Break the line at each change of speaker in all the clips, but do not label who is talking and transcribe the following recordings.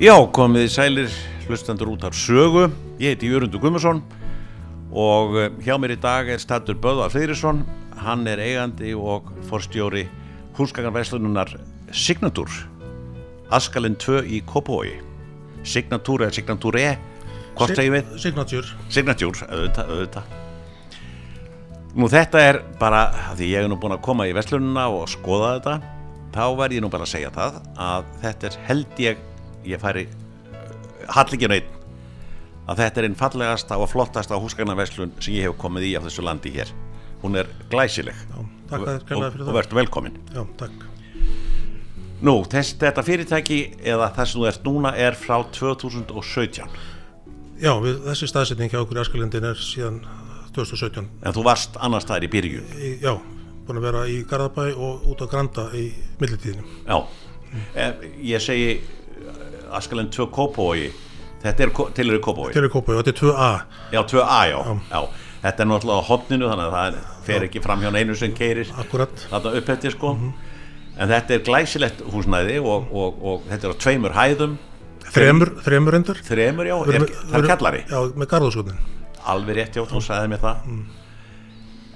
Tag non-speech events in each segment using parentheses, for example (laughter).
Já, komið í sælir hlustandur út af sögu. Ég heiti Jörgundur Gummarsson og eh, hjá mér í dag er Statur Böðvar Freyrisson. Hann er eigandi og forstjóri húsgagnarverslununar Signatur, Askalinn 2 í Kópavogi. Signatur eða Signatur E, hvort segjum við?
Signature
Signature, auðvitað, auðvitað. Nú þetta er bara, af því ég er nú búinn að koma í verslununa og skoða þetta, þá verð ég nú bara að segja það að þetta er held ég, ég færi, hall ekki neitt, að þetta er einn fallegasta og flottasta húsgagnarverslun sem ég hef komið í af þessu landi hér. Hún er glæsileg
Já, takk að þér kærlega
og,
fyrir
og
það
verður velkomin.
Já, takk
Nú, þess, þetta fyrirtæki eða það sem þú ert núna er frá 2017,
Já, við, þessi staðsetning hjá okkur í Askalindin er síðan 2017
en þú varst annars staðar í byrjun.
í, Já, búin að vera í Garðabæ og út á Granda í millitíðinu
Já, ef, ég segi eh, Askalinn 2 Kópói þetta er ko- til eru Kópói
Til er Kópaví og þetta er 2A
Já, 2A, já, já Þetta er náttúrulega á hotninu þannig að það er- fer ekki fram hjá neinu sem keirir
Akkurat
þarna upp eftir sko En þetta er glæsilegt húsnæði og, og, og þetta er á tveimur hæðum
Þremur, þremur endar
Þremur, já, er, það er kjallari
Já, með Garðaskotin
Alveg rétt, já, þú sagði mér það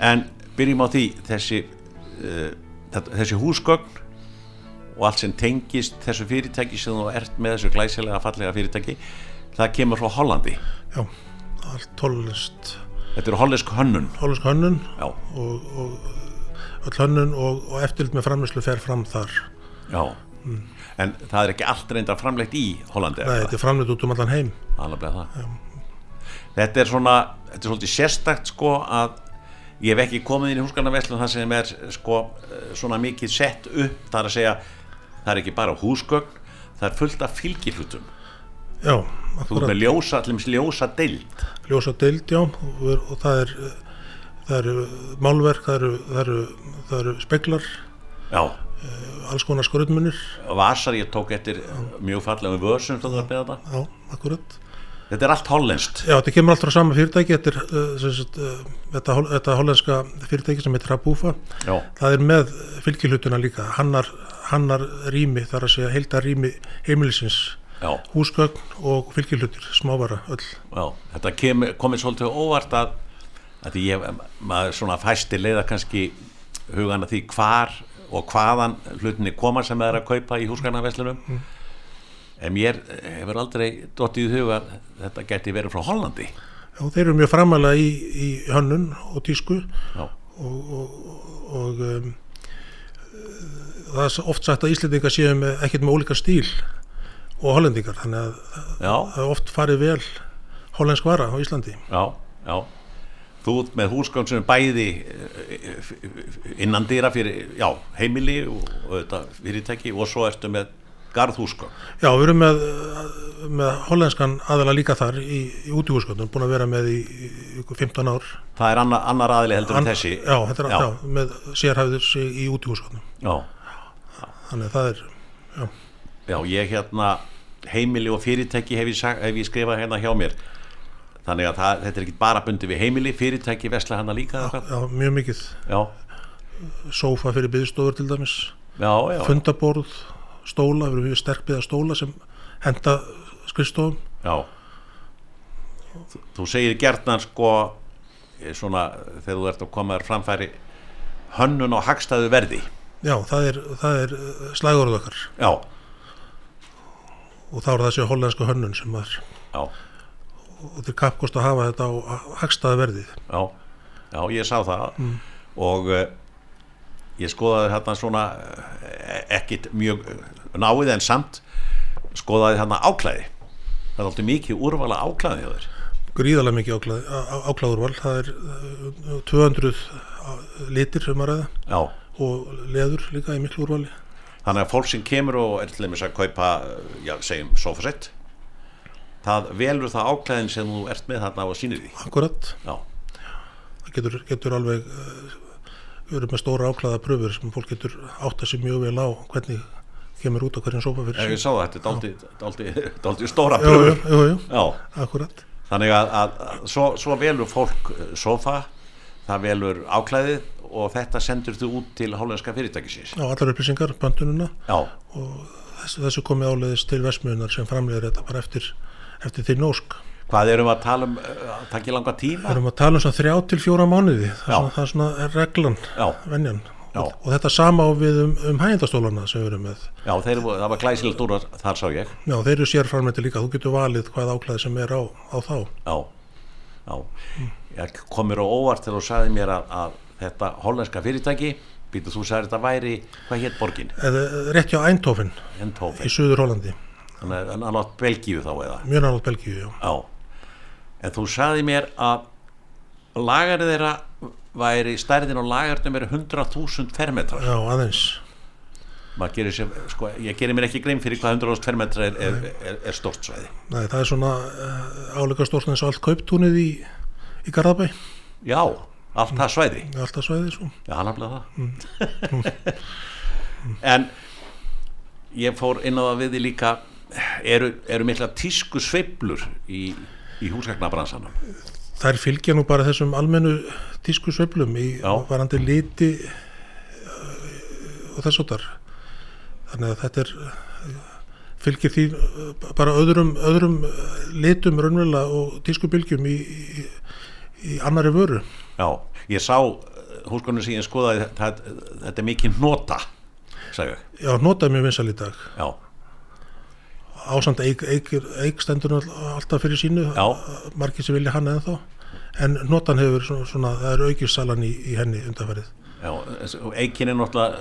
En byrjum á því þessi, uh, þetta- þessi húsgögn og allt sem tengist þessu fyrirtæki sem þú ert með þessu glæsilega fallega fyrirtæki það kemur frá Hollandi
Já, allt tólest
Þetta eru hollensk hönnun
Tólest hönnun
Já,
og, og öll hönnun og, og eftirlit með framlýslu fer fram þar
já En það er ekki allt reynda framlegt í Hollandi
Nei, þetta er framlýtt út um allan heim
Alveg það Þetta er svona, þetta er svolítið sérstakt sko að ég hef ekki komið inn í húsgarnaverslun þar sem er sko eh, svona mikið sett upp, það er að segja það er ekki bara húsgögn, það er fullt af fylgihlutum,
Já,
þú
akkurat
erum með ljósa allir með ljósa deild,
ljósa deild, já, og, er- og það er eh, það eru eh, málverk, það eru, það eru, það eru speklar,
já
alls konar skröðmunir,
vasar ég tók eftir eh, mjög fallegum vörsum sem þú þarf með þetta,
já, akkurat.
þetta er allt hollenskt
Já, þetta kemur allt frá sama fyrirtæki, þetta er eh, sem sagt, eh, þetta, hol- þetta hollenska fyrirtæki sem heitir Rabufa,
já,
það er með fylgilhutuna líka, hannar, hannar rými, þar að segja heildar rými heimilisins,
já,
húsgögn og fylgilhutir, smávara, öll.
já þetta kem, komið svolítið á óvart að, að því ég, maður svona fæsti leiða kannski hugan að því hvar og hvaðan hlutinni koma sem það er að kaupa í húsgarnaverslunum
Mm.
en mér hefur aldrei dottið í huga þetta geti verið frá Hollandi
Já, þeir eru mjög framalega í, í hönnun og tísku,
já,
og um, það er oft sagt að Íslendingar séu með, ekkert með ólíka stíl og hollendingar þannig að
já,
það er oft farið vel hollensk vara á Íslandi
já, já. þú ert með húsgögn sem er bæði eh, f- f- innan dýra fyrir já, heimili og, og þetta fyrirtæki og svo ertu með garðhúsgögn
Já, við erum með, eh, með hollenskan aðala líka þar í, í útíhúsgöndum, búin að vera með í, í, í ykkur 15 ár
það er annar, annar aðli heldur en þessi
Já, þetta er
já.
já. með sérhæfður sig í útíhúsgöndum
Já,
þannig að það er,
já, ég hérna heimili og fyrirtæki hef ég, sag, hef ég skrifað hérna hjá mér þannig að það, þetta er ekki bara bundið við heimili fyrirtæki vesla hana líka já,
já, mjög mikið
já,
sófa fyrir byggstofur til dæmis
já, já,
fundaborð, stóla, við erum mjög sterk byggða stóla sem henda skrifstofum
já. Þú, þú segir gertnar sko eh, svona þegar þú ert að koma þér framfæri hönnun á hagstæðu verði
Já, það er, það er slagurð okkar
já,
og þá er þessi hollensku hönnun sem var
já,
og til kappkost að hafa þetta á hagstaða verðið.
já, já, ég sá það
Mm.
og uh, ég skoðaði hérna svona eh, ekkit mjög eh, náið en samt skoðaði hérna áklæði það er alltaf mikið úrvala áklæði hjá þér
Gríðalega mikið áklæð, áklæðurval, það er uh, 200 eh, litir sem að ræða
já,
og leður líka í miklu úrvali.
þannig að fólk sem kemur og er til dæmis að kaupa eh, já, segjum sofasett það velur það áklæðin sem þú ert með þarna og sýnir því
Akkurat,
já,
það getur, getur alveg, uh, við erum með stóra áklæða pröfur sem fólk getur átt að sér mjög vel á hvernig kemur út á hverjum sópa fyrir
ég
sig.
sá það, þetta er dálítið- dálítið (laughs) dálítið stóra
Jú, jú,
pröfur
jú, jú,
já.
akkurat.
Þannig að, að, að svo, svo velur fólk eh, sofa, það velur áklæðið og þetta sendur þú út til hálfenska fyrirtækisins.
Á allar upplýsingar, bandununa
Já,
og þessu, þessu komið áleiðis til versmiðunar sem framleiðir þetta bara eftir, eftir þinn ósk.
Hvað erum við að tala um, uh, takk í langa
Við
tíma?
erum að tala um svona þrjá til fjóra mánuði, það
Já.
er svona, það er svona reglan,
Já.
venjan.
Já.
Og, og þetta sama á við um, um hægindastólana sem við erum með.
Já, þeir, voru- það var glæsilegt úr þar- þar sá ég.
Já, þeir eru sérframleiti líka, þú getur valið hvað áklæði sem er á, á þá.
Já, já. Ég kom mér á óvart þegar þú sagði mér að, að þetta hollenska fyrirtæki, býtu þú sagði þetta væri, hvað hétt borgin?
Eða eh, rétt hjá Eindhoven í
Endhofen.
Suður Hollandi,
Þannig að hann átt Belgíu þá eða?
mjög náttúrulega Belgíu, já.
Já. En þú sagði mér að lagarið þeirra væri, stærðin á lagarnum er 100.000 fermetrar.
Já, aðeins.
Maður gerir sér, sko, ég gerir mér ekki grein fyrir hvað 100.000 fermetrar er, er, er, er stórt svæði.
Nei, það er svona uh, áleika stórn eins og allt kauptúnið í, í Garðabæ,
Já, allt það svæði.
alltaf svæðið sko. svo.
Já, hann hafði það. en ég fór inn á það við því líka, eru, eru mikla tísku sveiflur í, í húsgagnabransanum?
Þær fylgja nú bara þessum almennu tískusveiflum í
Já.
varandi liti eh, og þess áttar. Þannig að þetta er eh, fylgir því eh, bara öðrum, öðrum eh, litum raunverulega og tískubylgjum í, í, í annari vöru.
Já, ég sá húsgagnum sem ég skoðaði, það, þetta er mikið nota, sagði ég.
Já, notaði mjög vinsal í dag.
Já,
Ásand eik, eik, eik stendur náttúrulega alltaf fyrir sínu,
já,
margir sem vilja hann eða þá. En notan hefur svona, svona það er aukissalan í, í henni undanfærið.
já, og eikin er náttúrulega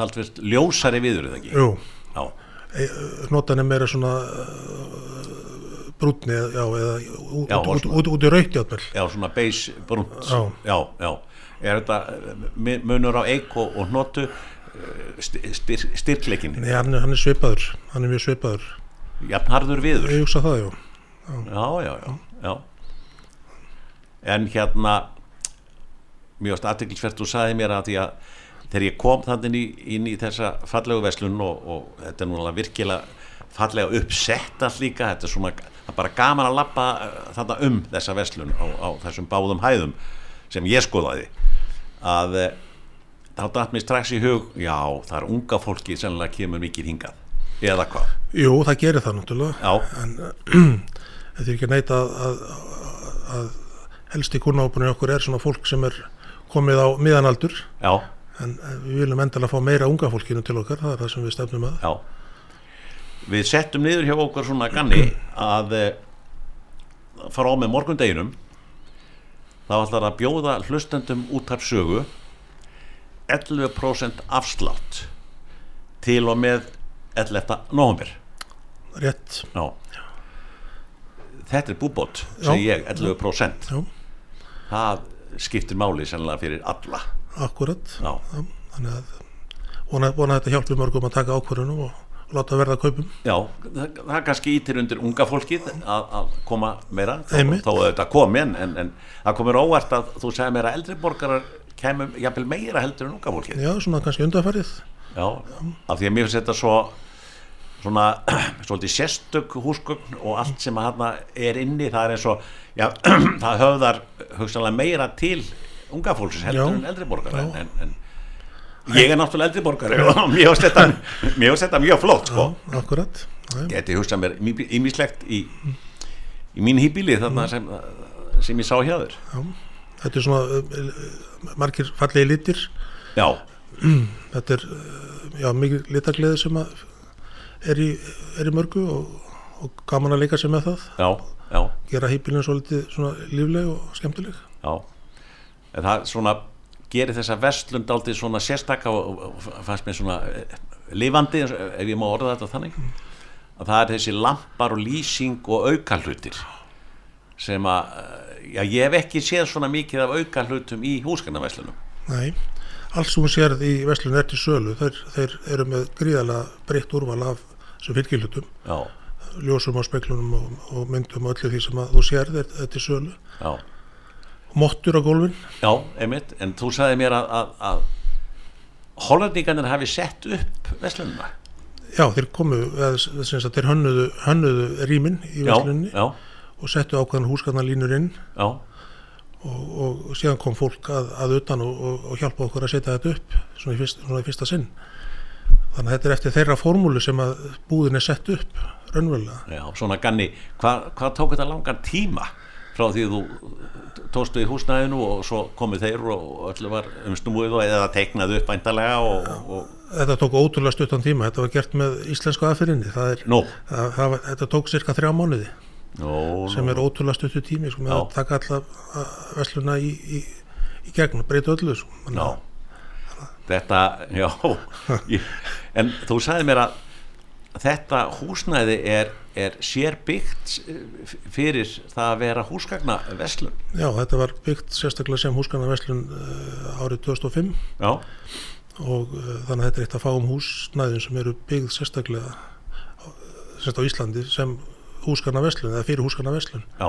talt fyrst ljósari viður, eða ekki?
Jú,
Já,
Eh, notan er meira svona uh, brúnni eða- já, eða út,
Já,
út,
og
út,
svona-
út, út í raukt játmjöl
já, svona beis, brunt,
Já.
já, já. Er þetta eh, mi- munur á eik og, eh, og notu styr, styr, styrkleikin,
Nei, hann, er- hann er svipaður, hann er mjög svipaður
jafnharður viður?
Ég hugsa það, já
já, já, já, já. en hérna mjög aðteglisvert þú sagði mér að því að þegar ég kom þannig inn í, inn í þessa fallegu veslun og, og þetta er núna virkilega fallega uppsett allt líka þetta er svona, það er bara gaman að lappa þetta um þessa veslun á, á þessum báðum hæðum sem ég skoðaði að eh, þá datt mér strax í hug já, það er unga fólki sennilega kemur mikið hingað eða hvað,
Jú, það gerir það náttúrulega
já,
en þetta er ekki að neita að, að, að helsti kunnápunni okkur er svona fólk sem er komið á miðanaldur
já
en eh, við viljum endalega fá meira unga fólkinu til okkar það er það sem við stefnum að
Já Við settum niður hjá okkur svona ganni að eh, fara á með morgundeginum þá ætlar að bjóða hlustendum útarpsögu 11% afslátt til og með 11. november
rétt,
Já Þetta er búbót, segi
Já.
ég, 11%
Já.
Það skiptir máli sennilega fyrir alla
akkurat
Já,
þannig að vona, vona að þetta hjálpi mörgum að taka ákvörðunum og, og láta verða að kaupum
Já, það, það kannski ítir undir unga fólkið að, að koma meira þó,
Einmitt.
þó að þetta komi en, en, en það komir óvart að þú segir mér að eldri borgarar kemur jafnvel meira heldur en unga fólkið
Já, svona kannski undarfærið.
Já, af því að mér finnst þetta svo svona (clears throat) svolítið sérstök húsgögn og allt sem að þarna er inni það er eins og, já, (clears throat) það höfðar hugsanlega meira til unga fólksins heldur
Já.
en eldri borgarar en, en, en ég er náttúrulega eldri borgari og (laughs) mér finnst þetta, mér finnst þetta mjög flott sko.
Akkurat. Já, já.
geti hugsað mér ímislegt í, í mín hýbíli þarna sem, sem ég sá hjá þér
Þetta er svona uh, uh, margir fallegi litir.
já,
Þetta er uh, já, mikið litagleði sem að er í, er í mörgu og, og gaman að leika sér með það.
já, já,
Gera hýpilin svolítið svona lífleg og skemmtileg.
já en það svona gerir þessa vestlund aldrei svona sérstaka og, og, og fannst mér svona eh, lifandi eins og- ef ég má orða þetta þannig að það er þessi lampar og lýsing og aukalutir sem að eh, já, ég hef ekki séð svona mikið af aukalutum í húsgarnaveslunum
Nei. Allt sem hún sérð í Veslun er til sölu. Þeir, þeir eru með gríðalega breytt úrval af sem fylgilutum.
já,
Ljósum á speklunum og, og myndum og öllu því sem að þú sérð er, er til sölu.
já
Mottur á gólfin.
Já, einmitt, en þú sagði mér að, að, að Hollandingarnir hafi sett upp Veslununa
Já, þeir komu, eða sem sagt, þeir hönnuðu, hönnuðu rýmin í
já,
verslunni
já,
og settu ákveðan húsgarnarlínur inn
já,
og, og síðan kom fólk að, að utan og, og, og hjálpa okkur að setja þetta upp svona í, fyrst, svona í fyrsta sinn. þannig að þetta er eftir þeirra formúlu sem að búðin er sett upp raunverulega
Já, svona ganni, hvað hva tók þetta langan tíma frá því þú tóstu í húsnæðinu og svo komu þeir og öllu var umsnúið og eða teiknaðu upp væntalega og, og
þetta tók ótrúlega stuttan tíma, þetta var gert með íslensku aðfyrinni, það er
nú,
það, það, var- þetta tók cirka þrjá mánuði
nú,
sem er ótrúlega stuttu tími sko, með
Já.
að taka alla vesluna í, í, í gegn og breyta öllu sko. Þannig
Já,
að-
þetta, já, ég, en þú sagði mér að þetta húsnæði er, er sérbyggt eh, fyrir það að vera húsgagna veslun.
já, þetta var byggt sérstaklega sem húsgana veslun uh, árið 2005
Já,
og uh, þannig að þetta er eitt að fá um húsnæðin sem eru byggð sérstaklega á- sérstaklega á Íslandi sem húsgana veslun eða fyrir húsgana veslun
já,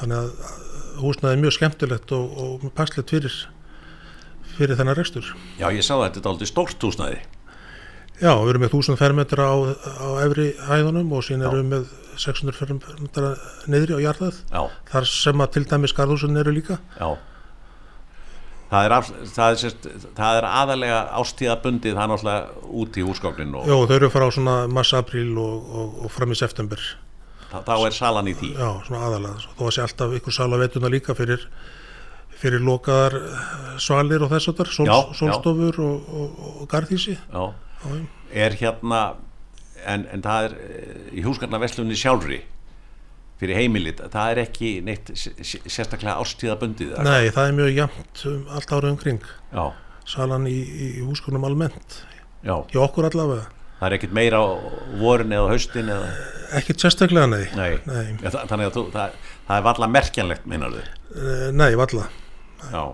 þannig að uh, húsnæði er mjög skemmtilegt og, og passlegt fyrir fyrir þennan rekstur.
já, ég sá þetta, þetta er aldrei stórt húsnæði.
Já, við erum með 1000 fermetra á, á efri hæðunum og síðan
Já.
erum við með 600 fermetra niðri á jarðað
Já,
þar sem að til dæmis garðhúsin eru líka
já. Það er, af, það, er sérst, það er aðalega ástíðabundið það er náttúrulega út í húsgagnin og
Já, og þau eru frá svona mars-april og, og, og fram í september
þá- þá er salan í því.
Já, svona aðalega, Svo þó að sé alltaf ykkur sala veituna líka fyrir fyrir lokaðar eh, svalir og þess að þar, sól,
Já, já.
sólstofur og, og, og garðhísi
Já,
Já, já.
er hérna en, en það er eh, í húsgarnaverslunni sjálfri fyrir heimilit, það er ekki neitt s- s- sérstaklega ástíðabundið eða hvað?
Nei, það er mjög jafnt um, allt árið umkring
já,
salan í, í húskunum almennt
já,
í okkur allavega,
það er ekkit meira á vorin eða á haustin eða,
ekkert sérstaklega nei
nei,
Nei.
Ja, það, þannig að þú, það, það er varla merkjanlegt meinar þau,
Eh, Nei, valla
já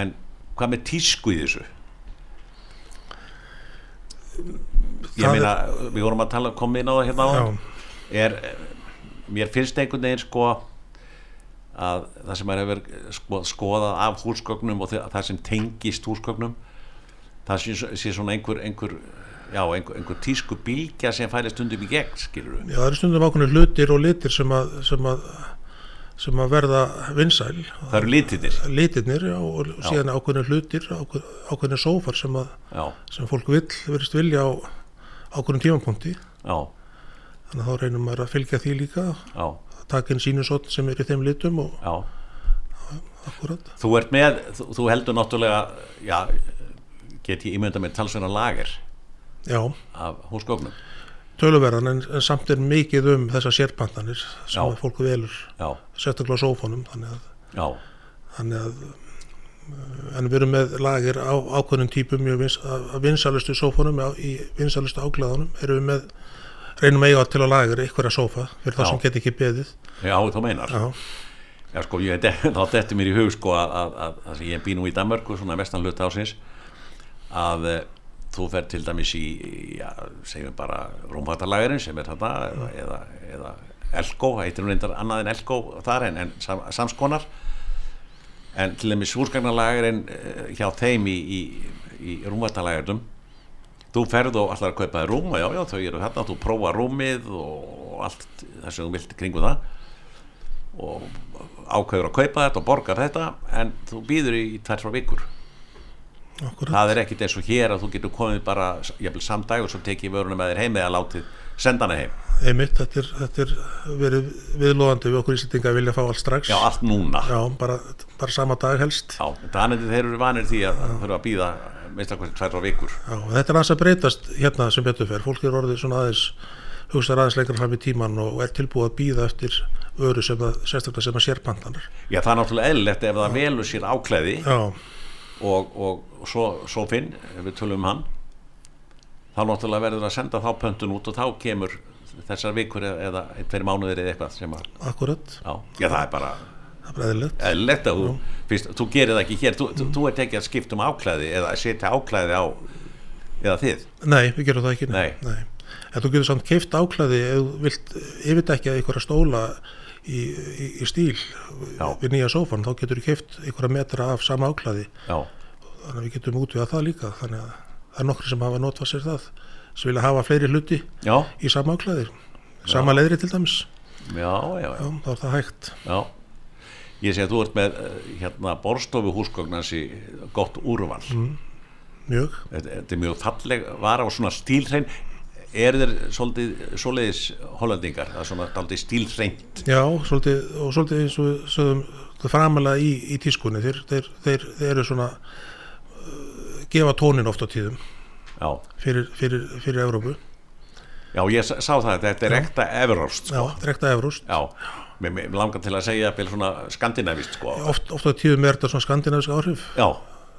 en hvað með tísku í þessu ég
Það er-
meina, við vorum að tala komið inn á það hérna á
Já,
er, mér finnst einhvern veginn sko að það sem er hefur sko, skoðað af húsgögnum og þe- það sem tengist húsgögnum það sé, sé svona einhver, einhver já, einhver, einhver tísku bylgja sem færi stundum í gegn, skilur við
Já, það eru stundum ákveðinu hlutir og litir sem að, sem að, sem að verða vinsæl.
það eru litinir
Litirnir já, og já. síðan ákveðinu hlutir, ákveðinu sófar sem, að,
já,
sem fólk vill, verðist vilja á ákveðinu tímapunkti.
já,
Þannig að þá reynum maður að fylgja því líka,
já,
taka inn sínusotn sem er í þeim litum og
já
akkurat.
þú ert með, þú, þú heldur náttúrulega já, get ég ímynda með talsverna lager
Já,
af húsgögnum
töluverðan en, en samt er mikið um þessar sérpantanir sem
Já.
að fólk velur,
já,
sérstaklega á sófanum, þannig að
já,
þannig að uh, en við erum með lagir á ákveðnum típum mjög vins, af af vinsælustu sófónum á- í vinsælustu áglæðunum erum við með reynum að eiga til að lagar einhverja sófa fyrir það
Já.
sem get ekki beðið
já, þú meinar
Já,
Já sko, ég, (laughs) þá dettur mér í hug sko að, að, að, að ég bý nú í Danmörku svona vestan hlut ásins að eh, þú fer til dæmis í, já, segjum bara rúmfattalagerinn sem er þetta eða, eða, eða Elko, heitir hún reyndar annað en Elko þar en, en sam, samskonar en til dæmis úrskagnalagerinn hjá þeim í, í, í rúmfattalagerðum þú ferð og allar að kaupa þér rúm og já, já, þau eru þarna, þú prófa rúmið og allt það sem þú vilt kringu það og ákveður að kaupa þetta og borgar þetta en þú býður í tvær frá vikur
okkur
það er ekkit eins og hér að þú getur komið bara jafnvel samdæg og svo tekið vöruna með þér heim eða látið senda hana heim
einmitt, þetta er, þetta er verið viðlóðandi við okkur íslendinga að vilja fá allt strax
já, allt núna já,
Já, bara, bara sama dag helst
þannig að þeir eru vanir því að það þurfa að býða minnst að hvernig tvær frá vikur
Já, og þetta er aðeins að breytast hérna sem betur fer fólk er orðið svona aðeins hugsaður aðeins lengra fram í tíman og er tilbúið að býða eftir öru sem að, sérstaklega sem að sérpantanir
já, það er náttúrulega eðlilegt ef það velur sér áklæði
Já,
og, og svo, svo finn ef við tölum um hann þá náttúrulega verður að senda þá pöntun út og þá kemur þessar vikur eða, eða einhverjum mánuðir eða eitthvað sem að,
akkurat
já, já það er bara
Það er bræðilegt.
eðlilegt að þú, fyrst, þú gerir það ekki hér, þú, þú, þú ert ekki að skipta um áklæði eða að setja áklæði á eða þið,
Nei, við gerum það ekki.
Nei.
En þú getur samt keift áklæði ef þú vilt yfirdekja einhverja stóla í, í, í stíl
Já.
við nýja sófan, þá getur þú keift einhverja metra af sama áklæði.
já,
Þannig að við getum útvegað það líka. Þannig að það er nokkri sem hafa notað sér það sem vilja hafa fleiri hluti
já
í sama áklæði. Sama leðri til dæmis.
já, já,
Já,
já,
þá er það hægt.
já ég segi að þú ert með eh, hérna borstofu húsgögnansi gott úrval
mjög
þetta, þetta er mjög falleg vara og svona stílhrein er þeir svolítið, svoleiðis hollendingar, það er svona daldið stílhreint
Já, svolítið, og svolítið eins og við sögðum það framalega í, í tískunni þeir, þeir, þeir, þeir eru svona uh, gefa tónin oft á tíðum
já,
fyrir, fyrir, fyrir Evrópu
já, ég sá það þetta er ekta evróst
Já,
sko.
rekta Evrúst
já, mér, mér langar til að segja bil svona skandinavist sko
oft, oft á tíðum er þetta svona skandinavisk áhrif
já,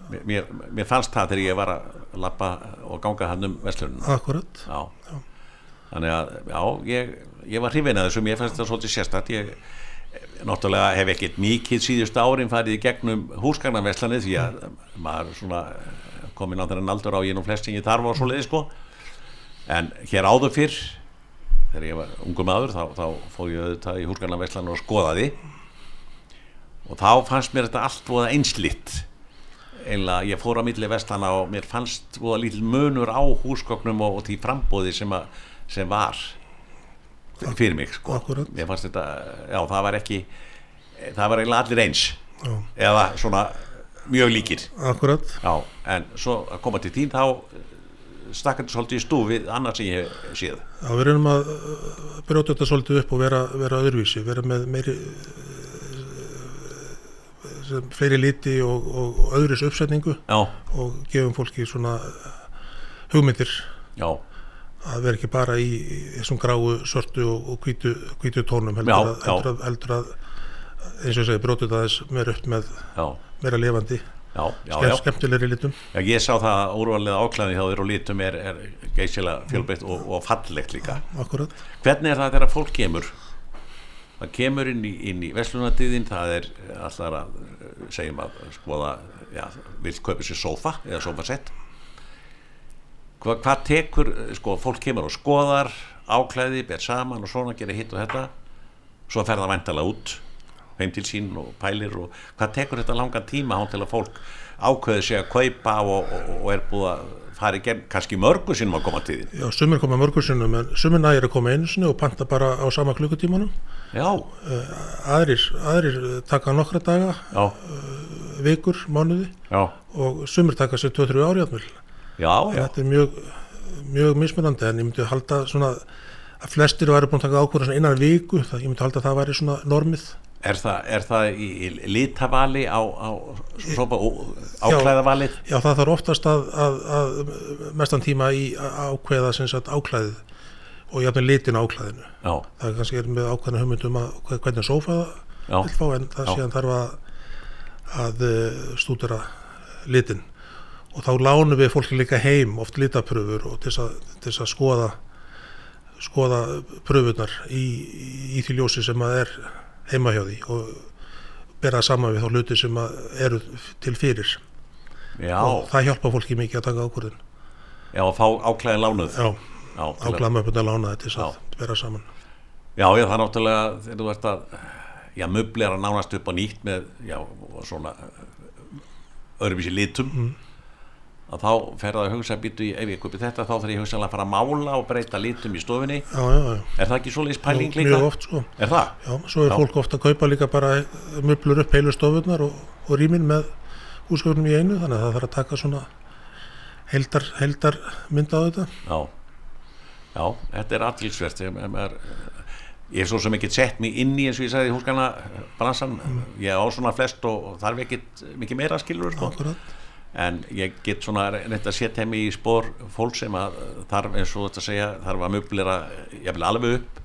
mér- mér, mér fannst það þegar ég var að lappa og ganga hann um verslunum
Akkurat
já. þannig að já, ég, ég var hrifin að þessu mér fannst það svolítið sérstætt ég náttúrulega hef ekkert mikið síðust árin farið í gegnum húsgagnarveslani því að maður svona komin á þennan aldur á ég nú flesting ég þarf á svo leiði sko en hér áður fyrr þegar ég var ungur maður þá, þá fóð ég auðvitað í húsgagnarveslani og skoðaði og þá fannst mér þetta allt voða einslitt einlega, ég fór á milli vestana og mér fannst voða lítil munur á húsgögnum og, og því frambóði sem, að, sem var fyrir mig sko.
Akkúrat.
mér fannst þetta, já það var ekki það var eiginlega allir eins
Já,
eða svona mjög líkir
akkurat
já, en svo að koma til þín þá stakkandi svolítið í stúfið annars sem ég hef séð
Já, við reynum að uh, brjóta þetta svolítið upp og vera, vera öðruvísi, vera með meiri uh, sem fleiri liti og, og, og öðris uppsetningu
já,
og gefum fólki svona uh, hugmyndir
já,
að vera ekki bara í, í þessum gráu, svörtu og, og hvítu, hvítu tónum heldur,
Já,
að,
já.
heldur, að, heldur að eins og ég segi, brjóta þetta aðeins meira upp með
já
meira levandi,
já, já, já.
Skemm, skemmtilegri litum
Já, ég sá það að úrvalið áklæði hjá þér og litum er, er geysilega fjölbeitt og, og fallegt líka.
akkurat,
Hvernig er það þegar fólk kemur? Það kemur inn í, inn í veslunardýðin, það er alltaf að eh, segjum að skoða, já, vil kaupa sér sófa eða sófasett. Hva, hvað tekur, eh, sko, fólk kemur og skoðar, áklæði, ber saman og svona, gerir hitt og þetta, svo fer það væntalega út, heim til sín og pælir og hvað tekur þetta langan tíma án til að fólk ákveði sig að kaupa og, og, og er búið að fara í gegn, kannski mörgu sinnum að koma til þín.
já, sumir koma mörgursinnum en sumir nægir að koma einu sinni og panta bara á sama klukkutímanum
Já,
aðrir, aðrir eh, taka nokkra daga,
já,
vikur, mánuði
já,
og sumir taka sér 2-3 ári átmjöl.
já, já.
Þetta er mjög, mjög mismunandi en ég myndi halda svona að flestir væri búin að taka ákvörðan svona innan viku, það, ég myndi halda að það væri svona normið.
Er það, er það í, í litavali á, á sopa, áklæðavalið?
Já, það þarf oftast að, að, að mestan tíma í að ákveða sem sagt áklæðið og jafnir litin á áklæðinu.
Já,
Það er kannski er með ákveðna hugmyndum að hve- hvernig sófa það
já,
vil fá en það
Já.
síðan þarf að, að eh, stúdera litin og þá lánum við fólki líka heim oft litapröfur og til þess að, til þess að skoða skoða pröfunar í, í því ljósi sem að er heima hjá því og bera það saman við þá hluti sem að eru til fyrir
já,
og það hjálpa fólki mikið að taka ákvörðin
já, að fá áklæðin lánuð.
Já,
Já, til að-
áklæðum upp að lána þetta til þess
Já.
að bera saman
já, já, það er náttúrulega, þegar þú ert að, já, möbli er að nánast upp á nýtt með, já, og svona öðruvísi litum,
Mm.
að þá fer það að hugsa, býtu, ef ég kaupi þetta, þá þarf ég hugsa að fara að mála og breyta litum í stofinni.
Já, já, já,
Er það ekki svoleiðis pæling
Mjög-
líka?
mjög oft sko
Er það?
Já, svo er
Já.
fólk ofta að kaupa líka bara möblur upp heilu stofunar og, og rýmin með húsgögnum í einu þannig að það þarf að taka svona heldar, heldar mynda á þetta
Já, já, þetta er aðtilsvert ég, maður, eh, ég hef svo sem ekki sett mig inn í eins og ég sagði húsgana bransan, ég á svona flest og, og þarf ekki mikið meira skilur sko.
Akkurat,
en ég get svona reynda að setja mig í spór fólk sem að eh, þarf eins og þetta segja, þarf að möblera eh, jafnvel alveg upp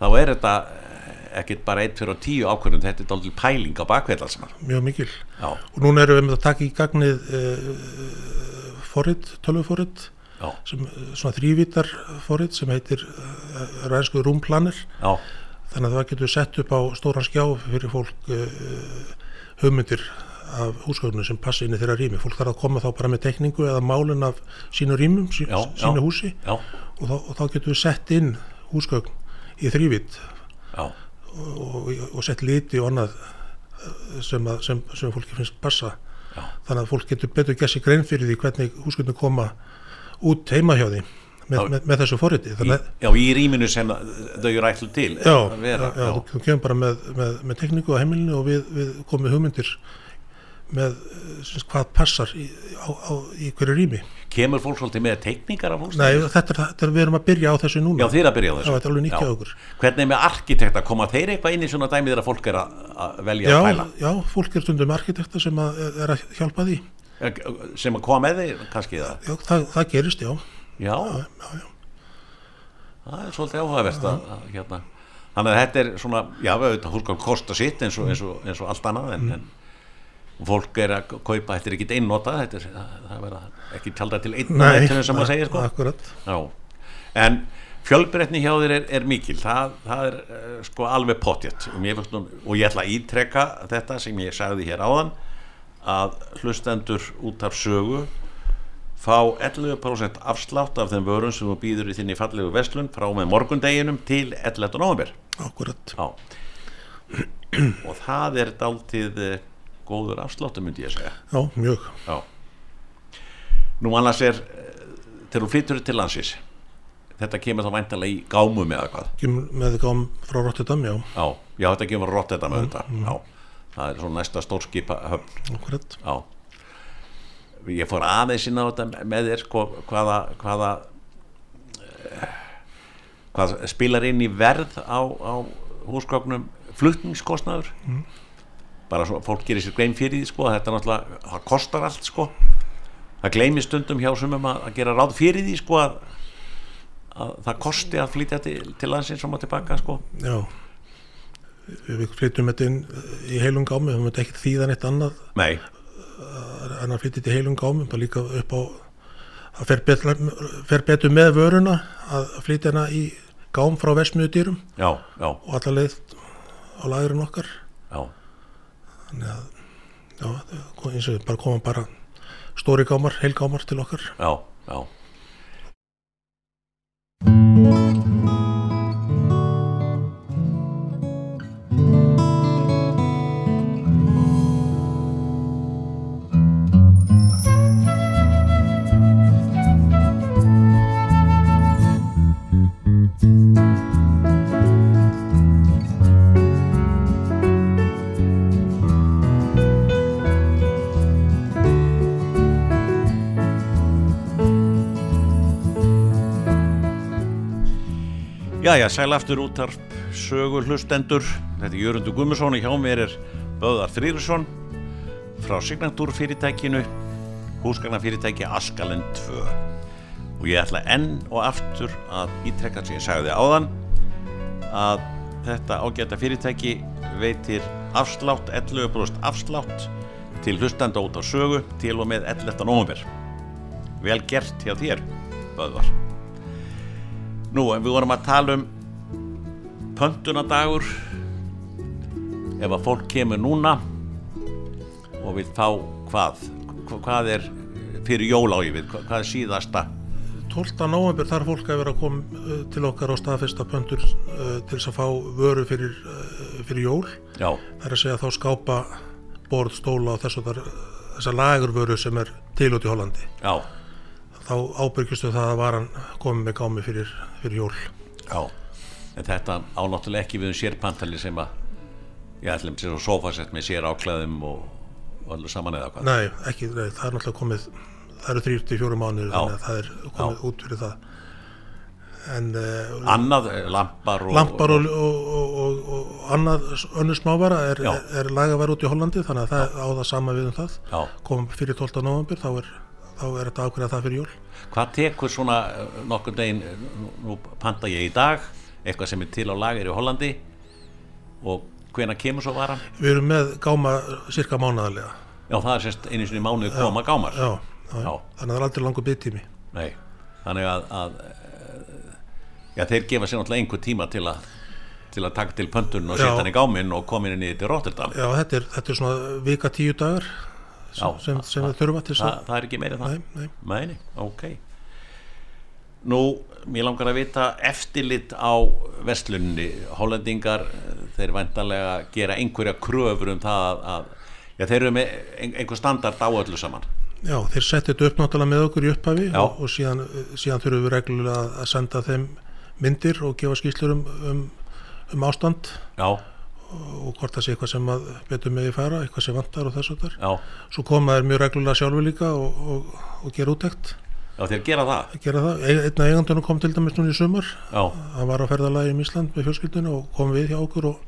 þá er þetta eh, ekkert bara eitt fyrir á tíu ákvörðum, þetta er dálítil pæling á bakveðla saman,
mjög mikil
já,
og núna erum við með að taka í gagnið uh, forrit, tölvuforrit
já,
sem, eh, svona þrývítar forrit sem heitir uh, rænsku rúmplanir
já
þannig að það getur sett upp á stóran skjá fyrir fólk uh, hugmyndir af húsgögnum sem passa inn í þeirra rými fólk þarf að koma þá bara með tekningu eða málin af sínu rýmum, sí,
Já, já.
sínu húsi
já,
og þá, og þá getur við sett inn húsgögn í þrývitt
já,
og, og sett liti og annað eh, sem, að, sem, sem fólki finnst passa
Já.
þannig að fólk getur betur gessi grein fyrir því hvernig húsgögnum koma út heima hjá því með,
Já.
með, með þessu
í,
forriti þannig að
já, í rýminu sem þau eru ætlu til
Já,
að
já,
vera,
já, þú- þú kemur bara með, með, með tekníku á heimilinu og við, við komum með hugmyndir með eh, sem sagt, hvað passar í, á, á, í hverju rými
Kemur fólk svolítið með teikningar af húsinu?
Nei, þetta er, þetta er við erum að byrja á þessu núna
Já, þið er að byrja á þessu.
Já, þetta er alveg nýtt hjá
Já.
okkur.
Hvernig er með arkitekta, koma þeir eitthvað inn í svona dæmi þegar fólk er að að velja að
já,
pæla?
já, fólk er stundum arkitekta sem að, er að hjálpa því
Eh, Sem að koma með þeir kannski það?
já, það, það gerist, já
Já,
já, já.
það er svolítið áhugavert að, að hérna. Þannig að þetta er svona, já, við auðvitað, húsgóð kosta sitt eins og, eins og, eins og allt annað
Mm.
en, en fólk er að kaupa, þetta er ekki einn nota, þetta er, það, það verða ekki tjaldar til einn
Nei,
til þess að maður segja, sko.
akkurat
Já, en fjölbreytni hjá þér er, er mikil, það, það er uh, sko alveg pottjett og, mér finnst nú- og ég ætla að ítreka þetta sem ég sagði hér áðan að hlustendur út af sögu fá 11% afslátt af þeim vörum sem þú býður í þinni fallegu verslun frá og með morgundeginum til 11. november.
Akkurat,
Já, og það er dáltið eh, góður afsláttu myndi ég segja.
já, mjög
Já. Nú annars er eh, þegar þú flyttur til landsins þetta kemur þá væntalega í gámum eða hvað
Ekki með gám frá Rotterdam, já,
Já, já þetta kemur rott þetta með þetta Já, það er svona næsta stórskipa höfn
akkurat
Já Ég fór aðeins inn á þetta með þér sko, hvaða, hvaða eh, hvað spilar inn í verð á, á húsgögnum flutningskostnaður bara svo fólk gerir sér grein fyrir því sko, þetta er náttúrulega, það kostar allt sko það gleymi stundum hjá sumum að, að gera ráð fyrir því sko að, að það kosti að flytja til, til landsins og maður tilbaka sko
Já Við við flytjum þetta inn eh, í heilum gámi við höfum þetta ekkert þýðan eitt annað
Nei,
en að flytja þetta í heilum gámi bara líka upp á það fer betur, fer betur með vöruna að flytja hana í gám frá versmiðudýrum
já, já,
og alla leið á lagurinn okkar
já
þannig að já, það- eins og bara koma bara stóri gámar, heilgámar til okkar
já, já Já, já, sæl aftur útarp sögur hlustendur Þetta er Jörundur Gummarsson og hjá mér er Böðar Þrýrsson frá signatúrfyrirtækinu húsgagnafyrirtæki Askalinn 2 og ég ætla enn og aftur að ítrekka sem ég sagði áðan að þetta ágæta fyrirtæki veitir afslátt 11% afslátt til hlustenda út af sögu til og með 11. november Vel gert hjá þér, Böðvar Nú, en við vorum að tala um pöntunadagur ef að fólk kemur núna og vil fá hvað Hva- hvað er fyrir jólágifið hvað hvað er síðasta
12. november þarf fólk að vera að koma uh, til okkar á staðfesta pöntur uh, til þess að fá vöru fyrir, uh, fyrir jól.
já,
Það er að segja þá skápa borð, stóla og þess að þess að lagurvöru sem er til út í Hollandi.
já,
Þá ábyrgistu það að varan komið með gámi fyrir, fyrir jól.
já en þetta ánáttúrulega ekki við um sérpantali sem að ég ætlum sér á sofasett með sér áklæðum og, og allir saman eða hvað
Nei, ekki, nei, það er náttúrulega komið, það eru þrýr til fjóru mánuður þannig að það er komið út fyrir það. En uh,
annað, eh, lampar og,
lampar og, og, og, og, og annað önnur smávara er,
Já.
er, er lagavara út í Hollandi þannig að það á það sama við um það.
já,
komum fyrir 12. november þá er, þá er þetta ákveða það fyrir jól
Hvað tekur svona eh, nokkur degin, nú, nú panta ég í dag, eitthvað sem er til á lagir í Hollandi og hvena kemur svo varan?
við erum með gáma cirka mánaðarlega
Já, það er sérst einu sinni í mánuði koma gámar.
já, já.
Já.
þannig að það er aldrei langur byggtími
Nei, þannig að, að eh, já, þeir gefa sér náttúrulega einhver tíma til að, til að taka til pöntun og
Já.
setja hann í gáminn og koma inn í til Rotterdam.
já, þetta er, þetta er svona vika tíu dagar sem,
Já,
sem, sem við þurfa til þess
Þa,
að
það er ekki meira en það.
nei, nei.
Mæni, ok Nú, mér langar að vita eftirlit á vestlunni Hollendingar, eh, þeir væntanlega gera einhverja kröfur um það að, að já, þeir eru með ein, einhver standard á öllu saman
já, þeir setja þetta upp náttúrulega með okkur í upphafi
Já.
og, og síðan, síðan þurfum við reglulega að- að senda þeim myndir og gefa skýslur um, um, um ástand
Já,
og hvort það sé eitthvað sem að betur megi fara, eitthvað sem vantar og þess og þar.
já,
Svo koma þeir mjög reglulega sjálfur líka og, og, og gera útækt,
já, þeir gera það
gera það. Ein- Einn af eigandunum kom til dæmis núna í sumar,
já,
hann var á ferðalagi um Ísland með fjölskyldinu og kom við hjá okkur og,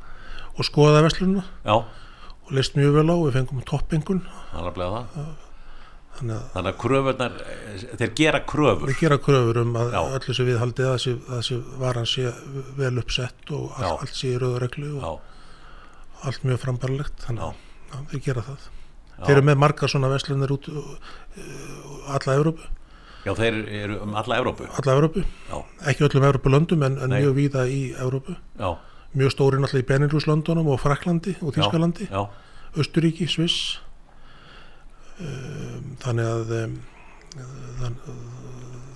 og skoðaði verslununa
já,
og leist mjög vel á, við fengum toppingun,
það er að blega það
þannig að
þannig að kröfurnar, eh, þeir gera kröfur
við gera kröfur um að
Já.
öllu sem við haldið að þessi, að þessi varan sé vel uppsett og
Já.
allt, allt sé í rauðareglu og
já,
allt mjög frambarlegt þannig að já, þeir gera það
Já.
þeir eru með margar svona veslunir út uh, alla Evrópu,
já, þeir eru um alla Evrópu
alla Evrópu
já,
ekki öllum Evrópu löndum en, en
Nei.
mjög víða í Evrópu
já,
mjög stóri náttúrulega í Benelux löndunum og Fraklandi og
já,
Þískalandi,
já,
Östuríki, Sviss um, þannig að um, þann,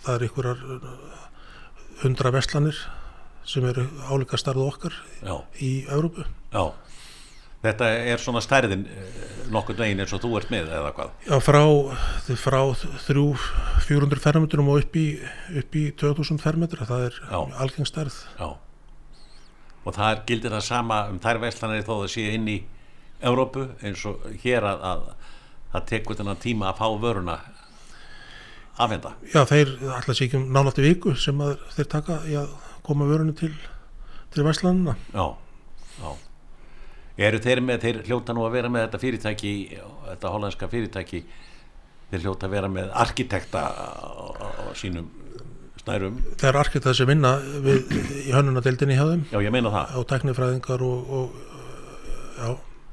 það er einhverjar hundra veslanir sem eru álíka starðu okkar
já,
í Evrópu
já þetta er svona stærðin eh, nokkurn veginn eins og þú ert með eða hvað
Já, frá, frá þrjú, 400 fermetrum og upp í, upp í 2000 fermetra, það er
Já.
algengstærð.
já og það er, gildir það sama um þær verslanir þó það sé inn í Evrópu eins og hér að, að það tekur þennan tíma að fá vöruna afhenda
Já, þeir alltaf sé ekki um nálætti viku sem að, þeir taka í að koma vörunni til, til Væslanina.
já, já eru þeir með, þeir hljóta nú að vera með þetta fyrirtæki, þetta hollandska fyrirtæki þeir hljóta að vera með arkitekta á, á, á sínum snærum,
Þegar arkitektar sem vinna við, í hönnunadeildinni hjá þeim
já ég meina það
og tæknifræðingar og, og já, já,
já,
já,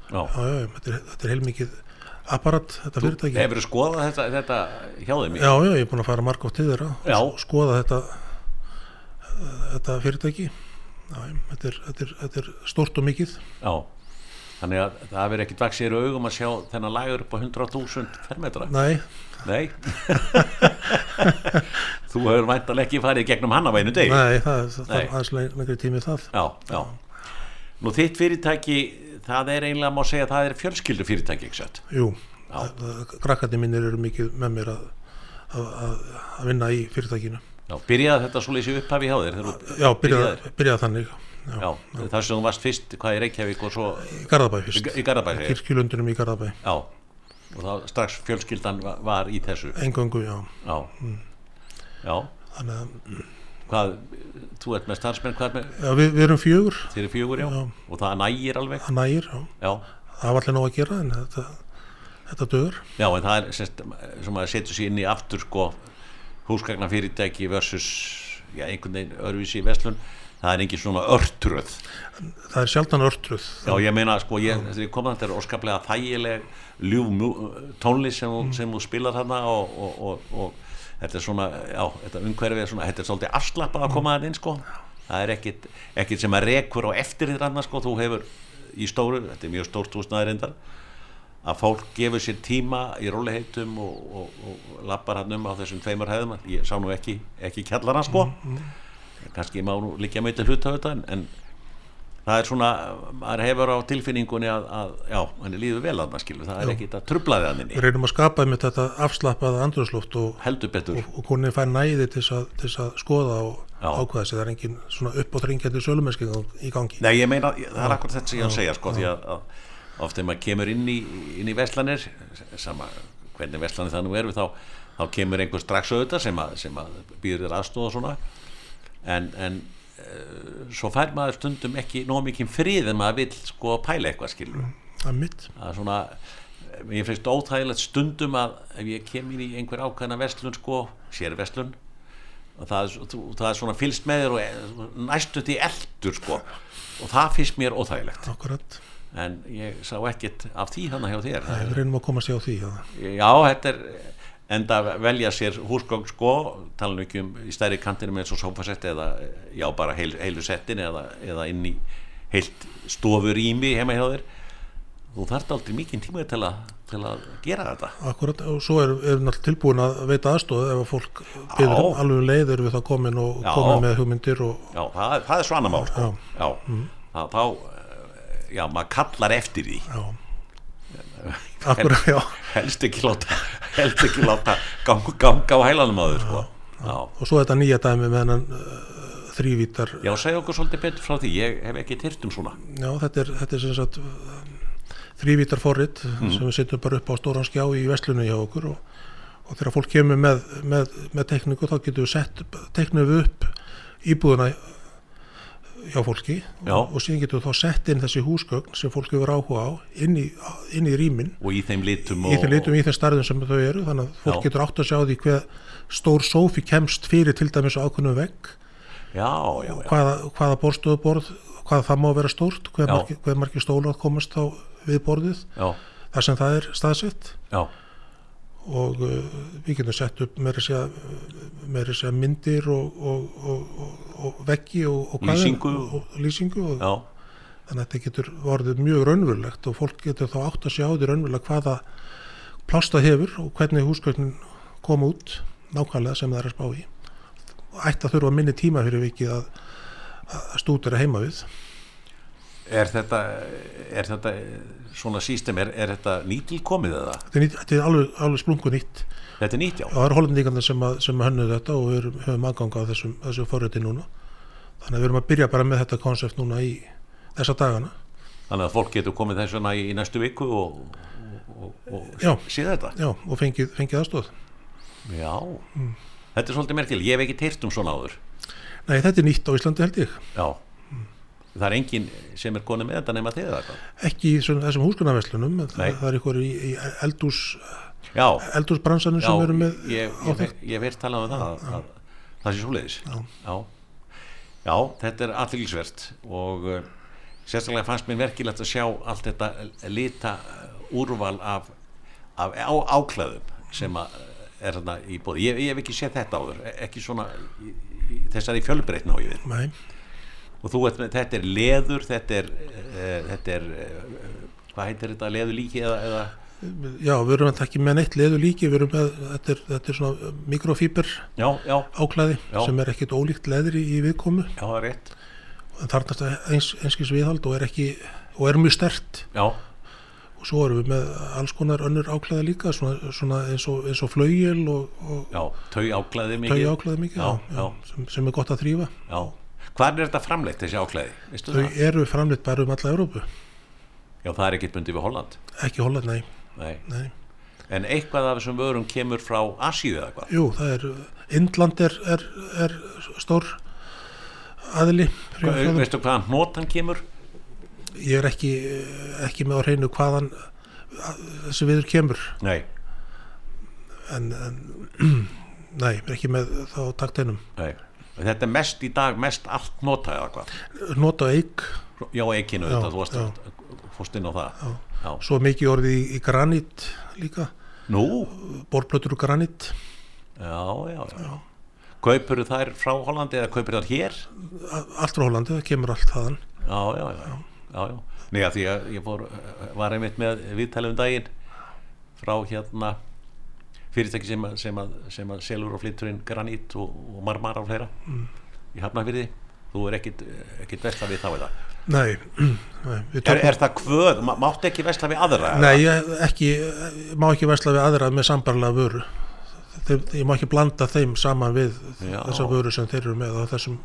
já, þetta er, þetta er heilmikið apparat, þetta fyrirtæki.
hefur skoðað þetta, þetta hjá þeim
Já, já, ég er búin að fara margótt til þeirra
Já.
og s- skoða þetta, þetta fyrirtæki. Já, já, þetta er, þetta, er, þetta er stort og mikið.
Já, þannig að það verður ekkit vaksir augum að sjá þennan lagur upp á 100.000 fermetra.
Nei,
Nei. (laughs) Þú hefur væntalega ekki farið í gegnum hann á einu deg.
nei, það er það
Nei.
er aðeins leng- lengri tími í það.
Já, já. Nú þitt fyrirtæki, það er einlega má segja að það er fjölskyldu fyrirtæki, ekki satt?
Jú,
Já.
krakkandi mínir eru mikið með mér að, að, að, að vinna í fyrirtækinu.
Já, byrjaði þetta svo lýsi upphafi hjá þér? þegar þú
Já,
byrjaðir?
byrjaði byrjað þannig. Já.
Já, þar sem þú varst fyrst, hvað í Reykjavík og svo
Í Garðabæ
í
fyrst,
í Garðabæ, segir?
kirkjulundunum í Garðabæ.
Já, og þá strax fjölskyldan va- var í þessu.
Engöngu, já.
Já,
Mm.
já,
Þannig að
hvað, þú ert með starfsmenn, hvað er með,
já, við, við erum fjögur,
Þeir eru fjögur, já.
Já.
Og það nægir alveg,
það nægir, já.
já.
Það var allir nóg að gera en þetta, þetta dögur.
Já, en það er sérst, sem að setja sér inn í aftur, sko, húsgagna fyrirtæki versus, já, einhvern veginn öðruvísi í Vestlun, það er engin svona örtröð.
Það er sjaldan örtruð.
Já, ég meina, sko, ég, þegar ég kom þannig, þetta er óskaplega þægileg ljúf mjú- tónlist sem, mm. sem þú spilar þarna og, og, og, og þetta er svona, já, þetta umhverfið er svona, þetta er svolítið afslappað að koma þannig inn, sko. Það er ekkit, ekkit sem að rekur á eftir þér annars, sko, þú hefur í stóru, þetta er mjög stórt húsnaðarindar, að fólk gefur sér tíma í róliheitum og, og, og lappar hann um á þessum tveimur hefðum ég sá nú ekki, ekki kjallara sko kannski má nú líka meita hluta á þetta en, en það er svona maður hefur á tilfinningunni að, að já, henni líður vel að maður skilur það er ekki þetta trublaði hann
Við
inni
reynum að skapa einmitt þetta afslappaða andröðsloft og,
heldur betur,
og konin fær næði til þess að, til þess að skoða og
Já.
ákvæða sig. Það er engin svona upp og þrengjandi sölumenski í gangi.
nei ég meina það er akkur þetta sem ég er að segja sko því að, að oft þegar maður kemur inn í, inn í veslanir sama hvernig veslanir það nú er við þá, þá kemur einhver strax auðvitað sem að, sem að býður þér aðstóð og svona en, en uh, svo fær maður stundum ekki nóg mikið frið en maður vill sko pæla eitthvað skilur
Það er mitt.
það er svona ég finnst óþægilegt stundum að ef ég kem inn í einhver ákveðna vestlun sko, sér vestlun og það, er- þú, það er svona fylst með þér og e- næstu því eldur sko og það finnst mér óþægilegt
Akkurat.
en ég sá ekkert af því hana hjá þér
Við reynum að komast hjá því. Já.
já, þetta er enda velja sér húsgögn sko tala nú ekki um í stærri kantinum eins og sófasetti eða já, bara heil, heilu settin eða, eða inn í heilt stofurými heima hjá þér þú þarft aldrei mikinn tíma til að, til að gera þetta
Akkurat. Og svo erum er við náttúrulega tilbúin að veita aðstóð ef að fólk byrður
Já.
alveg um leið erum við þá komin og
Já.
komin með hugmyndir og
já, það, er- það er svona mál sko. já, þá, þá eh, já, maður kallar eftir því (laughs)
já. Akkurat, já.
helst ekki láta helst ekki láta ganga, ganga á hælanum á þér sko já,
Og svo þetta nýja dæmi með hennan uh, þrývítar
Já, segja okkur svolítið betur frá því, ég hef ekki teirt um svona
Já, þetta er, þetta er sem sagt þrývítar forrit
Mhm.
sem við setjum bara upp á stóran skjá í veslunum hjá okkur og, og þegar fólk kemur með, með, með tekningu þá getum við sett teknum við upp íbúðuna hjá fólki
Já.
og, og síðan getum við þá sett inn þessi húsgögn sem fólk hefur áhuga á inn í, inn í rýmin
og í þeim litum og...
í þeim litum í þeim starðum sem þau eru þannig að fólk
Já.
getur átt að sjá því hver stór sófi kemst fyrir til dæmis á ákveðnum vegg
Já, já, já,
hvaða, hvaða borðstofuborð hvaða það má vera stórt hver
Já.
margir, hver margir stólar komast þá við borðið
já,
þar sem það er staðsett
já,
og uh, við getum sett upp meira að segja, meira að segja myndir og, og, og, og, og veggi og, og hvað er-
Lýsingu.
og, og, lýsingu og,
já,
þannig að þetta getur orðið mjög raunverulegt og fólk getur þá átt að sjá því raunverulega hvaða plásta hefur og hvernig húsgögnin koma út nákvæmlega sem það er að spá í ætti að þurfa minni tíma fyrir vikið að, að stútur er heima við
Er þetta, er þetta svona sístem, er, er þetta nýtilkomið eða?
þetta er, nýtt, þetta er alveg, alveg splungu nýtt
Þetta er nýtt, já.
og það eru hollendingarnir sem, að- sem hönnuðu þetta og við erum, höfum aðganga á þessum, þessum forröti núna þannig að við erum að byrja bara með þetta konsept núna í þessa dagana
Þannig að fólk getur komið þess vegna í, í næstu viku og, og, og,
Já.
og síða þetta.
já, og fengið, fengið aðstóð
Já, Mm. þetta er svolítið merkil, ég hef ekki teirt um svona áður.
Nei, þetta er nýtt á Íslandi held ég
Já, það er enginn sem er konið með þetta nema þið eða hvað.
ekki í svona, þessum húsgunarverslunum en
Nei.
það, það er ykkur í, í eldús
Já,
eldúsbransanum
já,
sem eru með
ég, ég,
áþekkt.
ég, ég verð talað um það, að, að, það sé svoleiðis. Já. já, þetta er aðtilsvert og uh, sérstaklega fannst mér verkilegt að sjá allt þetta lita uh, úrval af, af á, áklæðum sem að uh, er þarna í bóði. Ég, ég hef ekki séð þetta áður, e- ekki svona í, í, þessari fjölbreytna á ég við.
Nei,
Og þú veit, þetta er leður, þetta er, uh, þetta er, uh, hvað heitir þetta, leðurlíki eða, eða,
já, við erum þetta ekki með neitt leðu líki, við erum með þetta er, þetta er svona mikrofíber
já, já,
áklæði
Já.
sem er ekkit ólíkt leðri í viðkomu
já, það er rétt,
en þarnast eins, einskis viðhald og er ekki og er mjög stert
já.
og svo erum við með alls konar önnur áklæði líka svona, svona eins, og, eins og flögil og, og
Já, tau áklæði mikið.
tau áklæði mikið
já,
já, já, Sem, sem er gott að þrýfa
já. Hvað er þetta framleitt þessi áklæði? Veistu
þau
það?
eru framleitt bara um alla Európu
Já, það er ekkert bundið við Holland.
ekki Holland, nei,
Nei.
nei.
En eitthvað af þessum vörum kemur frá Asíu eða hvað?
Jú, það er, Indland er, er, er stór aðili.
Hva,
Hva,
veistu hvaðan hnotan kemur?
ég er ekki, ekki með á hreinu hvaðan þessi viður kemur,
Nei,
en, en (clears throat) nei, ég er ekki með þá takteinum.
nei. Þetta er mest í dag, mest allt hnota eða hvað?
Nota eik,
Já, ekinu
Já,
þetta, þú varst að fórst inn á það. Já.
svo mikið orðið í, í granít líka,
Nú?
borplötur úr granít,
Já, já, já. Kaupur þær frá Hollandi eða kaupur þær hér?
a- allt frá Hollandi, það kemur allt þaðan.
Já, já, já. já, já. Nei, að því að ég fór, eh, var einmitt með viðtalið um daginn frá hérna fyrirtæki sem að, sem að, sem að selur og flyttur inn granít og, og marmara og fleira í hafnafyrði. Þú er ekkit, eh, ekkit vesla við þá eða.
Nei, (clears throat) nei, við
Er,
tökum...
er það kvöð? Ma- Máttu ekki vesla við aðra? eða?
Nei, ég ekki, ég má ekki vesla við aðra með sambarlega vöru. Þeim, ég má ekki blanda þeim saman við
Já.
þessa vöru sem þeir eru með á þessum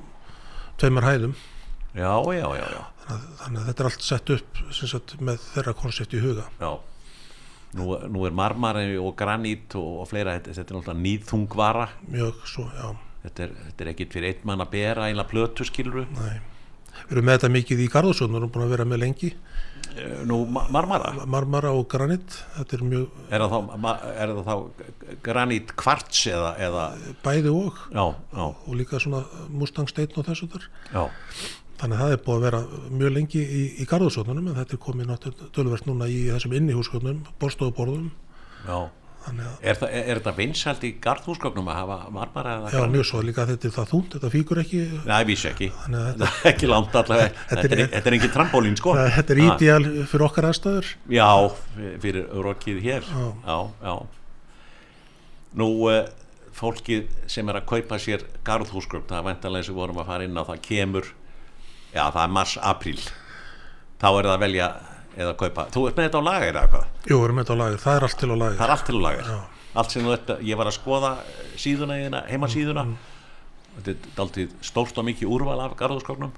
tveimur hæðum.
Já, já, já, já.
Þannig að, þannig að þetta er allt sett upp sem sagt, með þeirra konsept í huga.
já. Nú, nú er marmari og granít og, og fleira, þetta, þetta er náttúrulega nýðþungvara.
Mjög svo, já,
Þetta er, þetta er ekkit fyrir einn mann að bera, einlega plötu skiluru.
nei. Við erum með þetta mikið í Garðarsson, við erum búin að vera með lengi.
Eh, Nú, ma- marmara?
Marmara og granit, þetta er mjög
Er það þá, ma- er það þá granít kvarts eða, eða
bæði og
já, já,
og líka svona Mustang Steinn og þessu þar.
já,
Þannig að það er búið að vera mjög lengi í, í garðarsóknunum en þetta er komið náttúrulega tölverst núna í þessum innihúsgögnum, borstofuborðum.
já.
Þannig að,
Er, það, er, er þetta vinsælt í garðhúsgögnum að hafa marmara eða
já, mjög svo líka að þetta er það þúnt, þetta fíkur ekki,
Nei, vísi ekki,
Þannig að
þetta, (laughs) ekki langt allavega Þetta er, þetta er engin trampólín sko
það, þetta er
Ah,
ídéal fyrir okkar aðstæður.
Já, fyrir rokið hér
Já.
Já, já Nú, eh, fólkið sem er að kaupa sér garðhúsgögn það er væntanlega sem við vorum að fara inn á það kemur Já, það er mars-april Þá er það að velja eða kaupa Þú ert með þetta á laga eða hvað?
Jú, við erum með þetta á lager, það er allt til á lager.
það er allt til að lagar allt sem þú ert að, ég var að skoða eh, síðuna þína, heimasíðuna þetta er daltið stórt og mikið úrval af garðurskóknum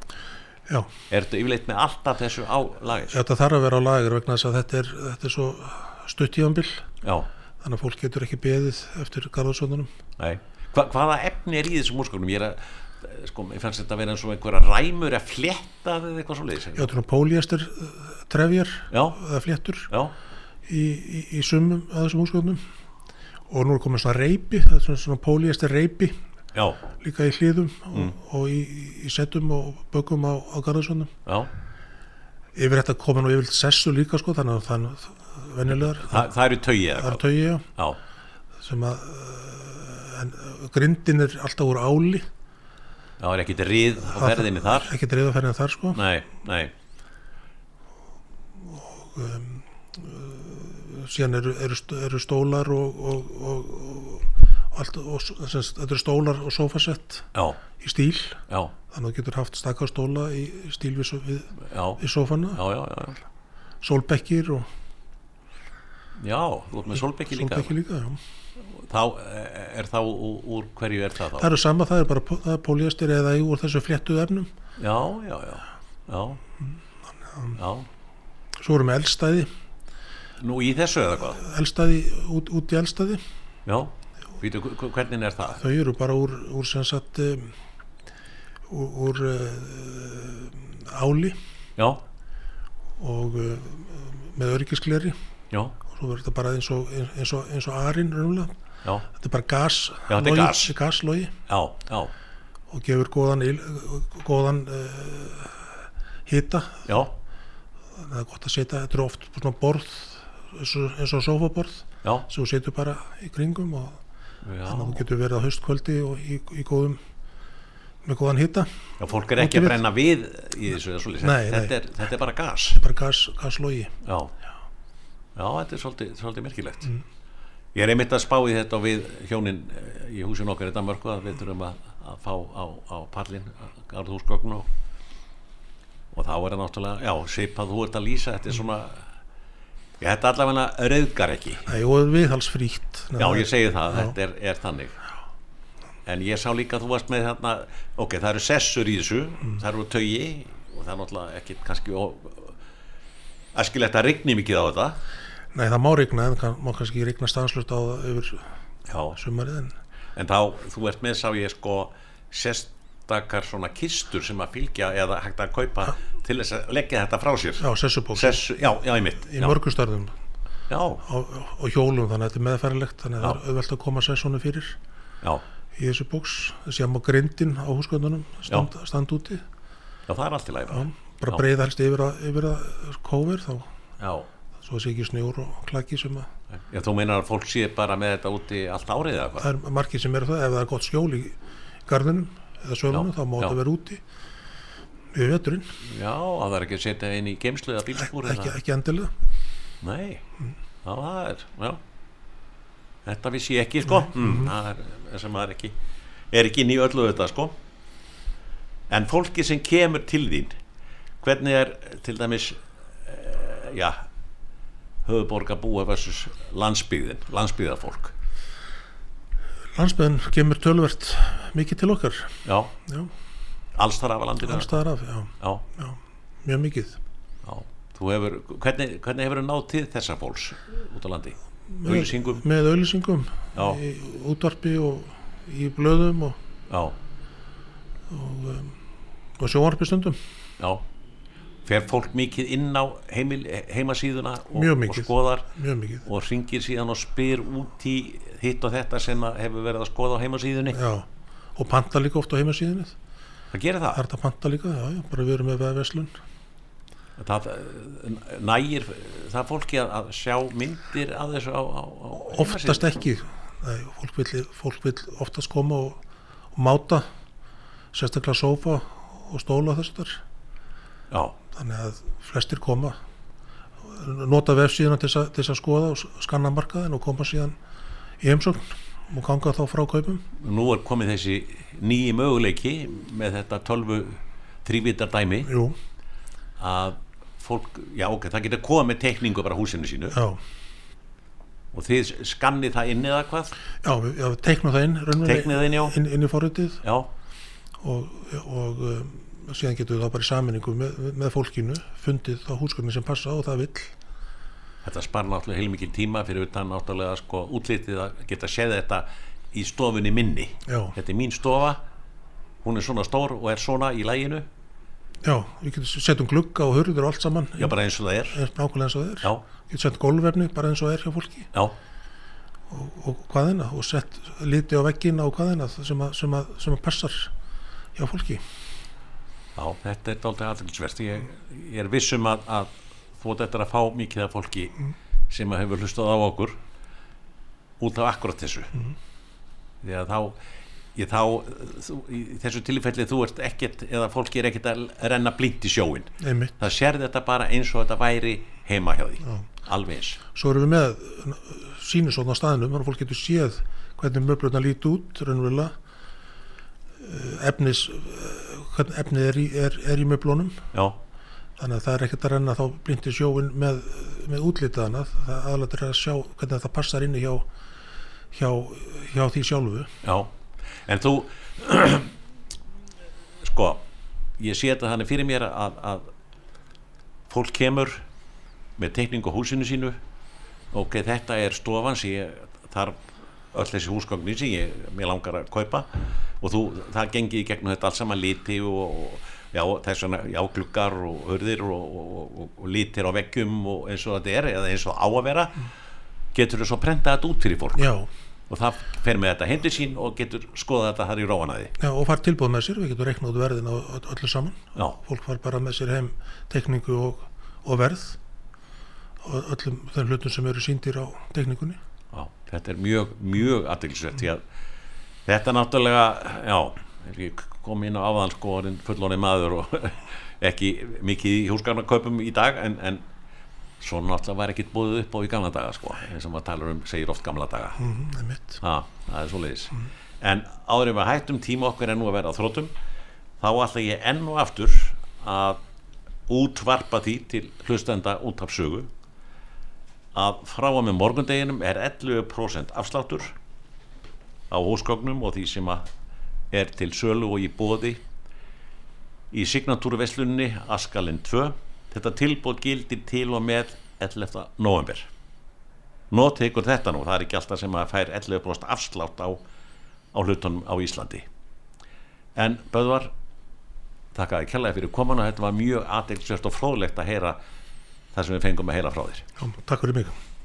já,
er þetta yfirleitt með alltaf þessu á lagið
þetta þarf að vera á lager vegna þess að þetta er, þetta er svo stutt í anbíl
já,
þannig að fólk getur ekki beðið eftir garðarsóðunum
nei Hva, hvaða efni er í þessum úrskóknum ég er að, sko, ég fannst þetta að vera eins og einhverja ræmur að fletta eða eitthvað svo leiðis
já, þetta er nú póliestir trefjar
já,
eða fléttur
já,
í, í, í sumum að þessum húsgögnum og nú er komið svona reypi það er svona, svona póliestir reypi
já,
líka í hlýðum og, og í, í setum og bökum á, á garðarsóðunum
já.
yfir þetta komið nú yfir sessu líka sko þannig að þannig að venjulegar
Þa, það eru tögi eða
það er
hvað
tögi já
já,
sem að eh, en, eh, grindin er alltaf úr áli
það er ekkit rið á ferðinni þar
ekki reyðaferðin þar sko
nei, nei,
síðan eru, eru, st- eru stólar og, og, og, og, og allt og, s- sem sagt, þetta eru stólar og sofasett
já,
í stíl
já
þannig að þú getur haft stakka stóla í, í stíl við, so- við,
já,
við sofana,
já, já, já, já.
sólbekkir og
Já, þú ert með Solbekki líka.
sólbekki líka já.
Þá eh, er þá úr, úr hverju er það þá?
það eru sama, það er bara pó- það er póliestir eða í úr þessu fléttu efnum
Já, já, já. Já. Já.
svo erum við eldstæði,
Nú í þessu eða hvað?
eldstæði út, út í eldstæði
Já. Vítu, hvernig er það?
þau eru bara úr, úr sem sagt um, úr, úr uh, áli
Já,
og uh, með örgiskleri
já,
og svo verður þetta bara eins og, eins og, eins og arinn raunlega.
já,
þetta er bara gas
Já, þetta er
logi-
gas.
gaslogi
já, já,
og gefur góðan, il, góðan uh, hita
já,
það er gott að setja, þetta er oft svona borð eins og, eins og sofaborð
já,
sem þú setur bara í kringum og
já.
þannig að þú getur verið á haustkvöldi og í, í góðum með góðan hita,
Já, fólk er ekki að
Útivið.
brenna við í þessu eða svolítið.
Nei, nei.
Þetta er, þetta er bara gas.
þetta er bara gas, gaslogi
Já. Já, þetta er svolítið, svolítið merkilegt.
Mm.
Ég er einmitt að spá í þetta og við hjónin eh, í húsin okkar í Danmörku að við þurfum að, að fá á, á pallin garðhúsgögn og, og þá er það náttúrulega, já, svipað þú ert að lýsa, þetta er svona, ég þetta allavega rauðgar ekki.
Nei, og viðhalsfrítt
Já, ég segi það,
Já.
þetta er, er þannig. En ég sá líka að þú varst með þarna, ok, það eru sessur í þessu, það eru tögi og það er náttúrulega ekkit kannski ó, æskilegt að rigni mikið á þetta.
Nei, það má regna, en kann, má kannski regna stanslust á það yfir
Já,
sumarið en
En þá, þú ert með sá ég sko sérstakar svona kistur sem að fylgja eða hægt að kaupa til þess að leggja þetta frá sér.
á sessubóks
Sessu, já, já, ég mitt.
í
já,
mörgum starðum
já,
og, og hjólum, þannig að þetta er meðfærilegt þannig að
Já.
það er auðvelt að koma sessónu fyrir
já,
í þessu bóks, þessi að má grindin á húsgöndunum stand, stand úti
já, það er allt í lagi.
bara
Já.
breiða helst yfir að, yfir að kóver þá,
Já.
svo sé ekki snjór og klaki sem að,
Já, þú meinar að fólk sé bara með þetta úti allt árið eða hvað?
það er margir sem eru það ef það er gott skjól í garðinum eða svölunum,
Já.
þá má
Já.
þetta vera úti við veturinn,
Já, að það er ekki að setja inn í geimslu eða bílskúr
ekki,
eða...
ekki endilega
Nei, já, það er, já. Þetta vissi ég ekki, sko. Mm, það er, það sem það er ekki, er ekki inn í öllu þetta, sko. En fólki sem kemur til þín, hvernig er til dæmis, uh, já, höfuborgarbúa versus landsbygðin, landsbygðarfólk.
landsbyðin kemur tölvert mikið til okkar
Já,
já,
alls þar af að landinu.
allstaðar af, já,
Já,
mjög mikið
já. Þú hefur, hvernig, hvernig hefur náð til þessa fólks út á landi? Auðlýsingum?
með auðlýsingum
Já.
í útvarpi og í blöðum og,
Já.
og sjónvarpi stundum
Já, fer fólk mikið inn á heimil, heimasíðuna og,
Mjög
og
mikið.
skoðar
mjög mikið
og ringir síðan og spyr út í hitt og þetta sem að hefur verið að skoða á heimasíðunni.
já. og panta líka oft á heimasíðinni það
Það gerir það.
er þetta panta líka, já, já, bara við erum með veðveslun
það eh, nægir það fólki að, að sjá myndir að þessu á, á, á
oftast ekki Nei, fólk, vill, fólk vill oftast koma og, og máta sérstaklega sófa og stóla og þessu þar
Já,
þannig að flestir koma nota vefsíðuna til þess að- til þess að skoða og s- skanna markaðin og koma síðan í heimsókn og ganga þá frá kaupum
nú er komið þessi nýji möguleiki með þetta tölvu þrývitar dæmi
Jú,
að fólk, já ok, það getur komið með tekningu bara á húsinu sínu
já,
og þið skannið það inn eða hvað,
já, við- já teiknum það inn raunverulega
teknið það inn já,
inn, inn í forritið
já
og, og um, síðan getum við þá bara í saminningu með, með fólkinu fundið þá húsgögnin sem passa og það vill
Þetta spara náttúrulega heilmikil tíma fyrir utan náttúrulega sko útlitið að geta séð þetta í stofunni minni.
Já.
Þetta er mín stofa, hún er svona stór og er svona í læginu,
Já, við getum setjum glugga og hurður og allt saman
já bara eins og það er.
eins nákvæmlega eins og það er
Já,
Við getum sett gólfefni bara eins og það er hjá fólki
já,
og hvaðina og sett liti á veggina og hvaðina sem að, sem að, sem að passar hjá fólki
já, þetta er dálítið aðeinsverst. Ég, ég er viss um að, að þú átt eftir að fá mikið af fólki sem að hefur hlustað á okkur út af akkurat þessu. Því að þá, ég þá, þú, í þessu tilfelli þú ert ekkert, eða fólki er ekkert að renna blínt í sjóin.
einmitt.
það sér þetta bara eins og þetta væri heima hjá því, alveg eins
Svo erum við með sínusóðn á staðnum þannig að fólk getur séð hvernig möblurna líti út raunverulega eh, efnis, eh, hvernig efnið er í, er, er í möblunum
já,
þannig að það er ekkert að renna þá blindi sjóin með, með útlitaðana það aðlættir að sjá hvernig það passar inni hjá, hjá, hjá því sjálfu
já en þú (clears throat) sko, ég sé þetta þannig fyrir mér að, að fólk kemur með teikningu á húsinu sínu ok, þetta er stofan sem ég þarf öll þessi húsgögnin sem ég mér langar að kaupa og þú, það gengi í gegnum þetta alls saman liti og, og já, þess vegna, já, gluggar og hörðir og, og, og, og litir á veggjum og eins og þetta er, eða eins og á að vera getur þú svo prentað þetta út fyrir fólk
já,
og það fer með þetta hindi sín og getur skoða þetta þar í róanaði
já og far tilbúð með sér við getum reiknað út verðin á ö- öllu saman
já,
fólk far bara með sér heim tekningu og, og verð og öllum þeim hlutum sem eru síndir á tekningunni
já, þetta er mjög, mjög aðtilsvert því að þetta náttúrulega, já ég kom inn á áðan sko orðin fullóni maður og (laughs) ekki mikið í húsgarnarkaupum í dag en, en svo náttúrulega var ekkit búið upp á í gamla daga sko, eins og maður talar um segir oft gamla daga
mm, einmitt.
ha, það er svoleiðis en áður en við hættum tíma okkar en nú að vera á þróttum þá ætla ég enn og aftur að útvarpa því til hlustenda útapsögu að frá að með morgundeginum er 11% afsláttur á húsgögnum og því sem að er til sölu og í bóði í signatúruveslunni Askalinn 2 þetta tilbóð gildir til og með 11. november notið ykkur þetta nú, það er ekki alltaf sem að fær 11% afslátt á, á hlutunum á Íslandi en Böðvar þakkaði kjallaði fyrir komuna, þetta var mjög aðeinsvert og fróðlegt að heyra það sem við fengum að heyra frá þér
Já, takk fyrir mig